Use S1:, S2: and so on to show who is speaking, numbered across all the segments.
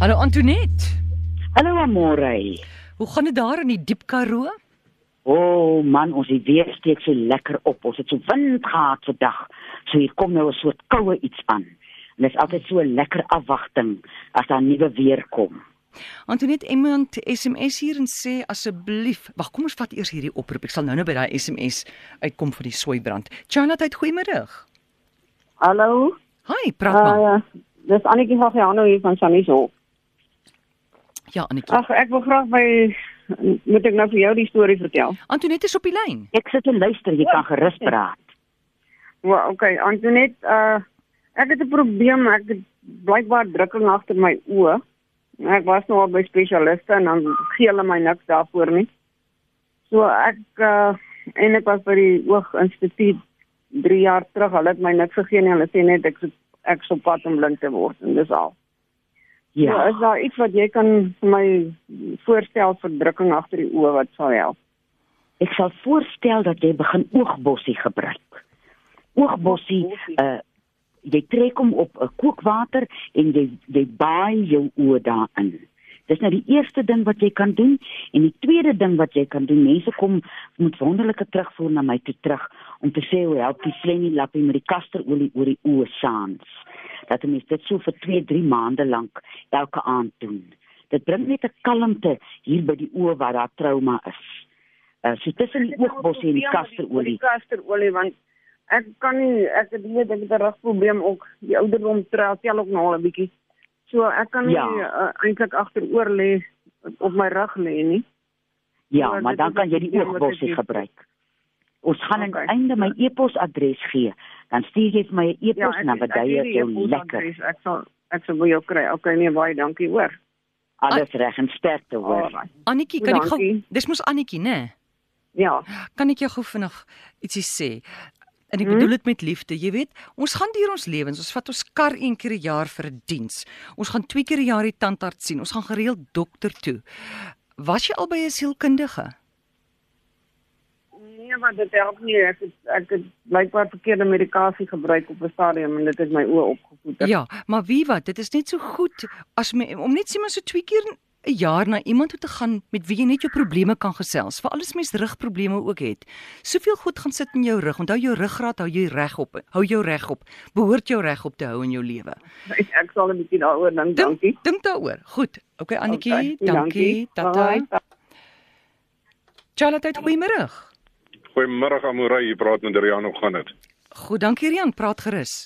S1: Hallo Antoinette.
S2: Hallo Amore.
S1: Hoe gaan dit daar in die diep Karoo?
S2: O oh, man, ons die weer steek so lekker op. Ons het so wind gehad vandag. So hier kom nou 'n soort koue iets aan. En dit is altyd so 'n lekker afwagting as daar nuwe weer kom.
S1: Antoinette iemand SMS hier en sê asseblief, wag kom ons vat eers hierdie oproep. Ek sal nou nou by daai SMS uitkom vir die soeibrand. Charlotte, goeiemôre.
S3: Hallo.
S1: Hi, praat maar.
S3: Uh, dis Annetjie Gagiano hier van Saniso.
S1: ja, Annetjie.
S3: Ag, ek wil graag by moet ek nou vir jou die storie vertel.
S1: Antoinette is op die lyn.
S2: Ek sit en luister, jy kan gerus praat.
S3: Maar okay, Antonet, uh ek het 'n probleem. Ek het blykbaar drukking agter my oë. Ek was nou al by spesialiste en dan gee hulle my niks daarvoor nie. So ek uh en ek was by die ooginstituut 3 jaar terug. Hulle het my niks gegee nie. Hulle sê net ek is- ek sou pad om blind te word en dis al. Ja. So
S2: Ja.
S3: is daar iets wat jy kan vir my voorstel vir drukking agter die oë wat sal help?
S2: Ek sal voorstel dat jy begin oogbossie gebruik. Oogbossie,
S3: Oogbossie.
S2: uh jy trek hom op 'n kookwater en jy jy baai jou oë daarin. Dis nou die eerste ding wat jy kan doen en die tweede ding wat jy kan doen, mense kom met wonderlike terugvoer na my toe terug om te sê hoe help die flennie lappie met die kasterolie oor die oë saans. Dat jy dit so vir 2, 3 maande lank elke aand doen. Dit bring net 'n kalmte hier by die oë waar daar trauma is. Uh, so tussen die oogbossie en die kasterolie.
S3: Die kasterolie want ek kan nie ek het weet ek het 'n rugprobleem ook. Die ouderdom tra- tel ook nog al 'n bietjie. So ek kan nie
S2: Ja.
S3: uh, eintlik agteroor lê op my rug lê nie.
S2: Ja,
S3: Maar
S2: maar
S3: dit
S2: dan
S3: is
S2: kan
S3: ook
S2: jy die
S3: iets wat
S2: oogbossie
S3: ek-
S2: gebruik. Ons gaan aan
S3: Oké.
S2: die einde my e-posadres gee. Dan stuur jy vir my 'n e-pos en dan
S3: het
S2: bedui
S3: hier
S2: ek
S3: Ja, die
S2: jou lekker.
S3: e-posadres. Ek sal ek sal vir jou kry. Okay, nee, baie dankie hoor.
S2: Alles reg en sterkte hoor.
S3: Alright.
S1: Annetjie, kan ek gou
S3: Dankie.
S1: Dis mos Annetjie, né? Nee?
S3: Ja,
S1: kan ek jou gou vinnig ietsie sê? En ek
S3: Hmm?
S1: bedoel dit met liefde. Jy weet, ons gaan deur ons lewens. Ons vat ons kar een keer 'n jaar vir 'n diens. Ons gaan twee keer 'n jaar die tandarts sien. Ons gaan gereeld dokter toe. Was jy al by 'n sielkundige?
S3: Nee, maar dit help nie. Ek het, ek het blykbaar verkeerde medikasie gebruik op 'n stadium en dit het my oë opgevoed.
S1: Ja, maar wie wat, dit is net so goed as me, om net sê maar so twee keer 'n jaar na iemand toe te gaan met wie jy net jou probleme kan gesels, veral as mens rugprobleme ook het. Soveel goed gaan sit in jou rug. Onthou jou ruggraat hou jy reg op. Hou jou reg op. Behoort jou reg op te hou in jou lewe.
S3: Ek sal 'n bietjie daaroor dink,
S1: Ja. Dink,
S3: dankie.
S1: dink daaroor. Goed. Okay Annetjie, okay,
S3: Okay,
S1: dankie. Tata.
S3: Bye.
S1: Charlotte, goeiemôre.
S4: Goeiemôre Amorey, jy praat met Rian, hoe gaan dit?
S1: Goed, dankie Rian, praat gerus.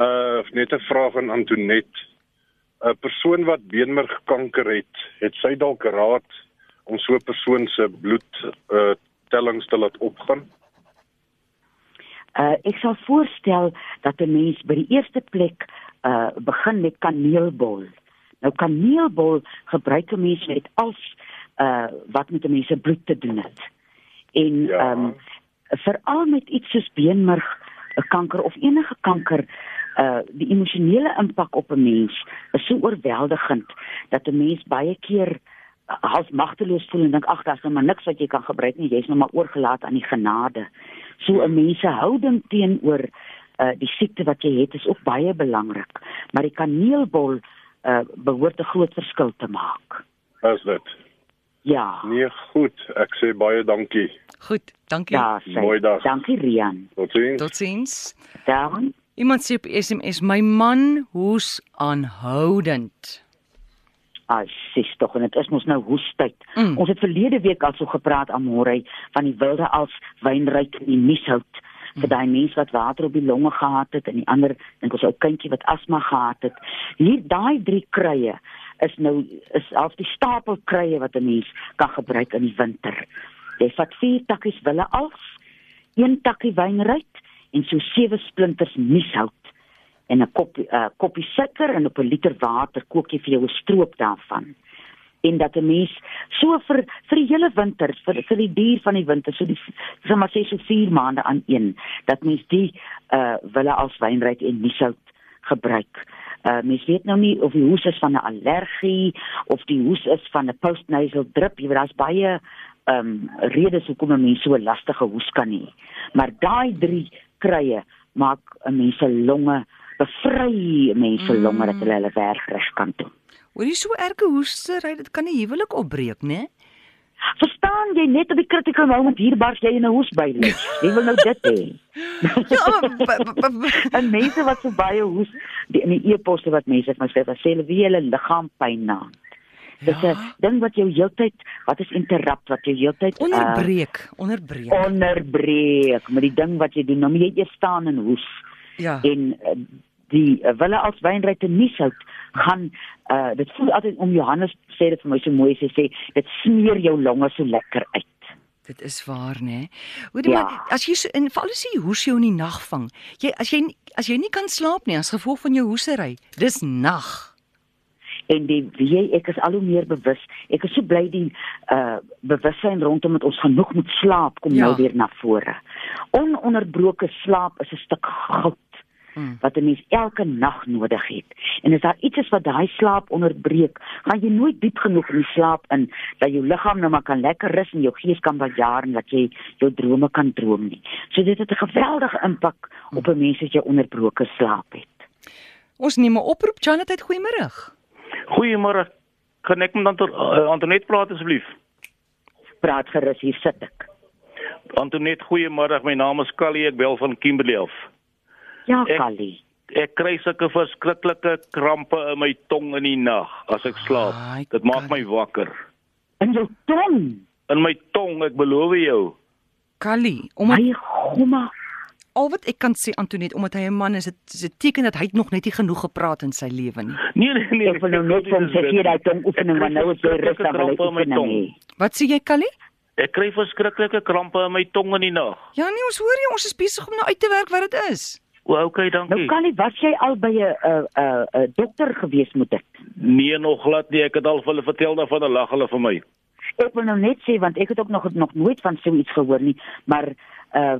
S4: Uh net 'n vraag aan Antonet. 'n Persoon wat beenmergkanker het, het sy dalk raad om so 'n persoon se bloed uh tellings te laat opgaan?
S2: Uh ek sal voorstel dat 'n mens by die eerste plek uh begin met kaneelbol. Nou kaneelbol gebruik 'n mens met als uh wat met 'n mens se bloed te doen het. En
S4: Ja.
S2: ehm um, veral met iets soos beenmerg 'n kanker of enige kanker uh die emosionele impak op 'n mens is so oorweldigend dat 'n mens baie keer half magteloos voel en dink ag daar's nou maar niks wat jy kan gebruik nie jy's nou maar oorgelaat aan die genade. So 'n mens se houding teenoor uh die siekte wat jy het is ook baie belangrik, maar die kaneelbol uh behoort 'n groot verskil te maak.
S4: Is dit?
S2: Ja.
S4: Nee, goed. Ek sê baie dankie.
S1: Goed, dankie.
S2: Ja, sy.
S4: Mooi dag.
S2: Dankie Rian.
S4: Totsiens.
S1: Totsiens.
S2: Dan
S1: Iemand sê op SMS my man hoes aanhoudend.
S2: Ai, sis tog en dit is mos nou hoestyd.
S1: Mm.
S2: Mm. Ons het verlede week al so gepraat aan Morey van die wilde als wynryk in die Nieshout vir daai mens wat water op die longe gehad het en die ander dink ons ou kindjie wat asma gehad het. Hier daai drie kruie is nou is half die stapel kruie wat 'n mens kan gebruik in die winter. Jy vat vier takkies wille als, een takkie wynryk en so sewe splinters Nieshout en 'n kop uh, koppie suiker en op 'n liter water kook jy vir jou 'n stroop daarvan. En dat 'n mens so vir vir die hele winter, vir vir die duur van die winter, so die sê maar sê so 4 maande aan een, dat mens die uh wille as wynryk en niesout gebruik. Uh mens weet nou nie of die hoes is van 'n allergie of die hoes is van 'n postnasal drip, jy weet daar's baie ehm um, redes hoekom 'n mens so 'n lastige hoes kan hê. Maar daai drie kruie maak 'n mens se longe bevry mense longe dat hulle hulle werk reg kan doen.
S1: Hoor jy so erge hoestery, dit kan 'n huwelik opbreek, né?
S2: Verstaan jy net op die critical moment hier bars jy in 'n hoes by lê. Jy wil nou dit hê.
S1: Ja, maar b- b- b-
S2: En mense wat so baie hoes die in die e-posse wat mense vir my skryf, wat sê hulle wie hulle liggaam pyn na. Dis 'n
S1: Ja.
S2: ding wat jou heeltyd, wat is interrupt wat jou heeltyd uh,
S1: onderbreek, onderbreek.
S2: onderbreek met die ding wat jy doen. Nou moet jy eers staan en hoes
S1: Ja.
S2: en uh, die uh, wille as wynryk te Nieshout gaan uh, dit voel altyd om Johannes sê dit vir my so mooi sy sê dit smeer jou longe so lekker uit.
S1: Dit is waar, né? Hoorie ja.
S2: Ja.
S1: maar, as jy so in veral as jy hoes jou in die nag vang. Jy as jy nie- as jy nie kan slaap nie as gevolg van jou hoesery, dis nag.
S2: en die weet jy ek is al hoe meer bewus. Ek is so bly die uh bewussyn rondom dat ons genoeg moet slaap kom
S1: Ja.
S2: ja. nou weer na vore. Ononderbroke slaap is 'n stuk goud
S1: Hmm.
S2: wat 'n mens elke nag nodig het. En as daar iets is wat daai slaap onderbreek, gaan jy nooit diep genoeg in die slaap in dat jou liggaam nou maar kan lekker rus en jou gees kan bejaar en dat jy jou drome kan droom nie. So dit het 'n geweldige impak op 'n mens as jy onderbroke slaap het.
S1: Ons neem 'n oproep, Janet, goeiemôre.
S5: Goeiemôre. Kan ek met Anton, uh, Antonet praat asseblief?
S2: Praat gerus, hier sit ek.
S5: Antonet, goeiemôre. My naam is Callie, ek bel van Kimberley af.
S2: Ja,
S5: Ek-
S2: Callie.
S5: Ek kry sulke verskriklike krampe in my tong in die nag as ek slaap.
S1: Ai,
S5: Dit maak my wakker.
S2: in jou tong.
S5: In my tong, ek beloof jou.
S1: Callie, omdat
S2: My gomma.
S1: al wat ek kan sê Antonet, omdat hy 'n man is, dit is 'n teken dat hy nog net nie genoeg gepraat in sy lewe nie.
S5: Nee nee nee.
S2: Ek wil nou net van sê jy daai tong oefening want nou is jy rustig wil ek oefening hê.
S1: Wat sê jy, Callie?
S5: Ek kry verskriklike krampe in my tong in die nag.
S1: Ja nee, ons hoor jy, ons is besig om nou uit te werk wat dit is.
S5: O, okay,
S2: Nou
S5: dankie.
S2: Callie, was jy al by 'n 'n 'n- 'n dokter gewees moet ek?
S5: Nee nog glad nie. Ek het al vir hulle vertel daarvan, hulle lag hulle vir my.
S2: Ek wil nou net sê want ek het ook nog nog nooit van so iets gehoor nie, maar uh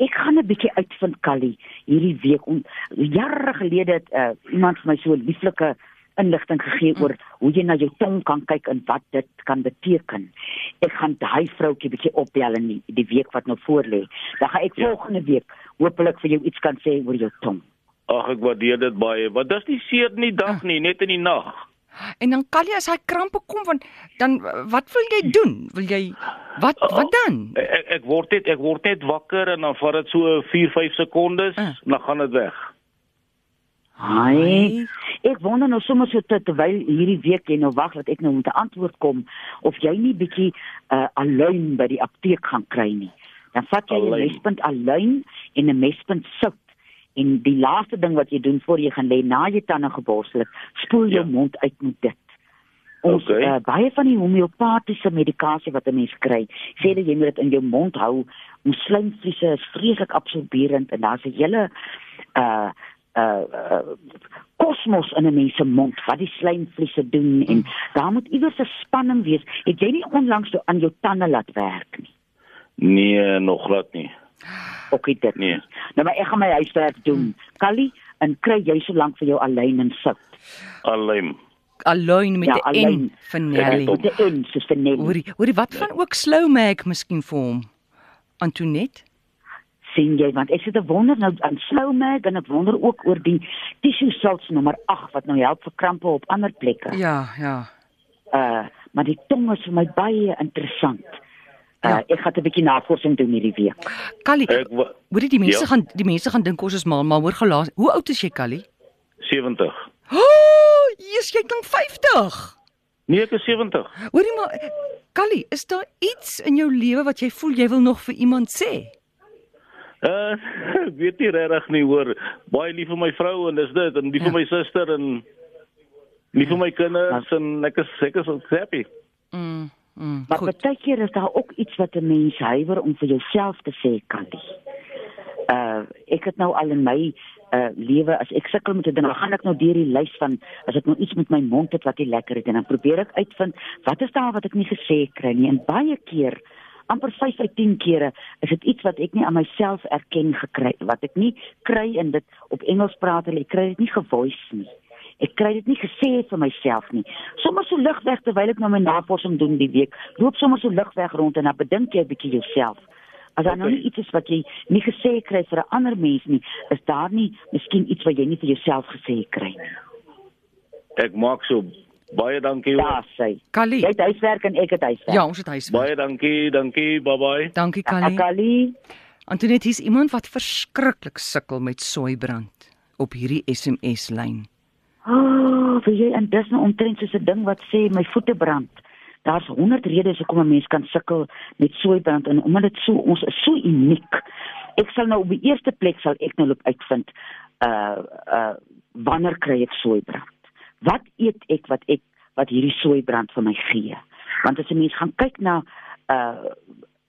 S2: ek gaan 'n bietjie uitvind Callie hierdie week om jare gelede het uh, iemand vir my so 'n lieflike inligting gegee oor hoe jy na jou tong kan kyk en wat dit kan beteken. Ek gaan daai vroutjie bietjie opbel in die, die week wat nou voor lê. Dan gaan ek ja.
S5: Ja.
S2: volgende week hopelik vir jou iets kan sê oor jou tong.
S5: Ag, ek waardeer dit baie. Want dis nie seer in die dag nie, net in die nag.
S1: En dan Callie as hy krampe kom want dan wat wil jy doen? Wil jy wat wat dan?
S5: Ek ek word net ek word net wakker en dan vat dit so 4, 5 sekondes
S1: Ah.
S5: en dan gaan dit weg.
S2: Hi. Ek wonder nou sommer so ter- terwyl hierdie week jy nou wag dat ek nou met 'n antwoord kom of jy nie bietjie uh, aluin by die apteek gaan kry nie. Dan vat jy 'n
S5: Aluin.
S2: mespunt aluin en 'n mespunt sout. En die laaste ding wat jy doen voor jy gaan lê na jy tande geborsel het, spoel jou
S5: Ja.
S2: mond uit met dit. Ons
S5: Oké.
S2: okay. uh, baie van die homeopatiese medikasie wat 'n mens kry, sê dat jy moet dit in jou mond hou. Ons slijmvliese is vreeslik absorberend en daar's 'n hele uh uh, uh kosmos in 'n mens se mond wat die slijmvliese doen en daar moet iewers 'n spanning wees. Het jy nie onlangs so aan jou tande laat werk nie?
S5: Nee, nog glad nie.
S2: Ook nie dit nie.
S5: Nee.
S2: Nou maar ek gaan my huiswerk doen. Callie, en kry jy so lank vir jou alleen en sout.
S5: Alleen.
S1: Alleen met
S2: Ja,
S1: 'n
S2: alleen.
S1: N van
S5: Ja,
S1: Nelly.
S5: Tom.
S2: Met 'n en soos vir Nelly.
S1: Hoorie, hoorie wat van ook slow mac miskien vir hom? Antonet?
S2: sien jy want ek sit te wonder nou aan Sloumerk en ek wonder ook oor die tissue salts nommer 8 wat nou help vir krampe op ander plekke.
S1: Ja, ja.
S2: Uh maar die tong is vir my baie interessant. Uh
S1: Ja.
S2: ja. ek gaan 'n bietjie navorsing doen hierdie week.
S1: Callie,
S2: Eh,
S5: Ek wa-
S1: hoorie die mense
S5: Ja.
S1: gaan die mense gaan dink ons is mal, maar hoor gelaas. Hoe oud is jy, Callie?
S5: 70.
S1: Ooh, jy's jy klink 50.
S5: Nee, ek is 70.
S1: Hoorie maar Callie, is daar iets in jou lewe wat jy voel jy wil nog vir iemand sê?
S5: Uh, ek weet nie regtig nie hoor. Baie lief vir my vrou en dis dit en lief vir my suster en lief vir my kinders en ek is ek is happy.
S1: Mm, mm,
S2: Maar
S1: goed.
S2: baie keer is daar ook iets wat 'n mens huiwer om vir jouself te sê kan nie. Uh ek het nou al in my uh lewe as ek sukkel met 'n ding, dan gaan ek nou deur die lys van as ek nou iets met my mond het wat nie lekker is en dan probeer ek uitvind wat is daar wat ek nie gesê kry nie. En baie keer amper 5 uit 10 kere is dit iets wat ek nie aan myself erken gekry wat ek nie kry en dit op Engels praat hulle ek kry dit nie gevoice nie. Ek kry dit nie gesê vir myself nie. Sommers so lig weg terwyl ek nou my navorsing doen die week. Loop sommer so lig weg rond en dan bedink jy 'n bietjie jouself. As daar nou
S5: Oké.
S2: nie iets is wat jy nie gesê kry vir 'n ander mens nie, is daar nie miskien iets wat jy nie vir jouself gesê kry nie.
S5: Ek maak so Baie dankie hoor.
S2: Daar sy.
S1: Callie.
S2: Jy het huiswerk en ek het huiswerk.
S1: Ja, ons het huiswerk.
S5: Baie dankie, dankie. Bye bye.
S1: Dankie
S2: Ja,
S1: Callie.
S2: Akali,
S1: Antoinette, hier's iemand wat verskriklik sukkel met soeibrand op hierdie SMS lyn.
S2: oh, vir jy en dis nou omtrent soos 'n ding wat sê my voete brand. Daar's 100 redes hoekom 'n mens kan sukkel met soeibrand en omdat dit so ons is so uniek. Ek sal nou op die eerste plek sal ek nou loop uitvind uh uh wanneer kry ek soeibrand? Wat eet ek wat ek wat hierdie soeibrand vir my gee? Want as 'n mens gaan kyk na uh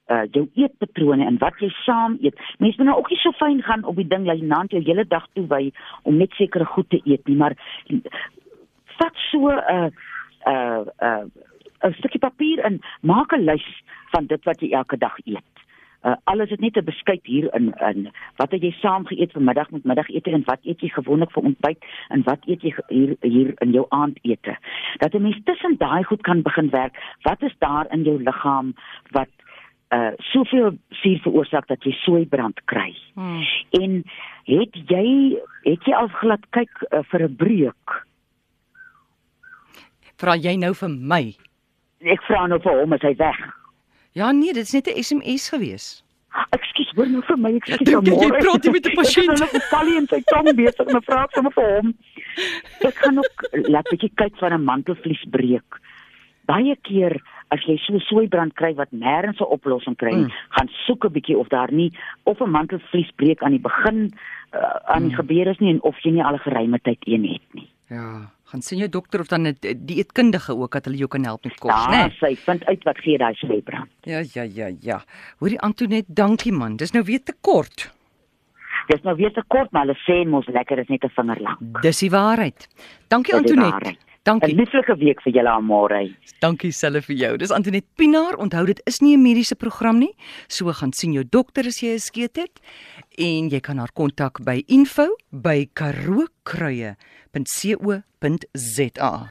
S2: uh jou eetpatrone en wat jy saam eet. Mense moet nou ook nie so fyn gaan op die ding dat jy naand jou hele dag toe wy om net sekere goed te eet nie, maar vat so 'n uh, 'n uh, 'n uh, 'n stukkie papier en maak 'n lys van dit wat jy elke dag eet. Uh, alles is net 'n beskuit hier in in wat het jy saam geëet vanmiddag met middagete en wat eet jy gewoonlik vir ontbyt en wat eet jy ge- hier hier in jou aandete. Dat 'n mens tussen daai goed kan begin werk. Wat is daar in jou liggaam wat uh soveel suur veroorsaak dat jy soeibrand kry?
S1: Hmm.
S2: En het jy het jy al glad kyk uh, vir 'n breuk?
S1: Vra jy nou vir my?
S2: Ek vra nou vir hom as hy weg.
S1: Ja nee, dit is net 'n SMS gewees.
S2: Ekskuus, hoor nou vir my, ekskuus.
S1: Dink jy jy
S2: Amore.
S1: praat nie met 'n pasiënt?
S2: Ek is nou met Callie en sy tong besig en ek vra ek sommer vir hom. Ek gaan ook eh, laat bietjie kyk van 'n mantelvlies breek. Baie keer as jy so soeibrand kry wat nêrens 'n oplossing kry nie,
S1: Mm.
S2: gaan soek 'n bietjie of daar nie of 'n mantelvlies breek aan die begin uh, aan
S1: Mm.
S2: die gebeur is nie en of jy nie al 'n geruime tyd een het nie.
S1: Ja, gaan sien jou dokter of dan 'n d- dieetkundige ook dat hulle jou kan help met kos, né?
S2: Daar
S1: Nee?
S2: sy vind uit wat gee daai soeibrand.
S1: Ja, ja, ja, ja. Hoorie Antoinette, dankie man. Dis nou weer te kort.
S2: Dis nou weer te kort, maar hulle sê mos lekker is net 'n vinger lank.
S1: Dis die waarheid. Dankie
S2: Dis die
S1: Antoinette.
S2: waarheid. 'n
S1: Dankie.
S2: Lieflike week vir julle almal.
S1: Dankie selfe vir jou. Dis Antoinette Pinaar. Onthou dit is nie 'n mediese program nie. So gaan sien jou dokter as jy 'n skeet het en jy kan haar kontak by info@karookruie.co.za.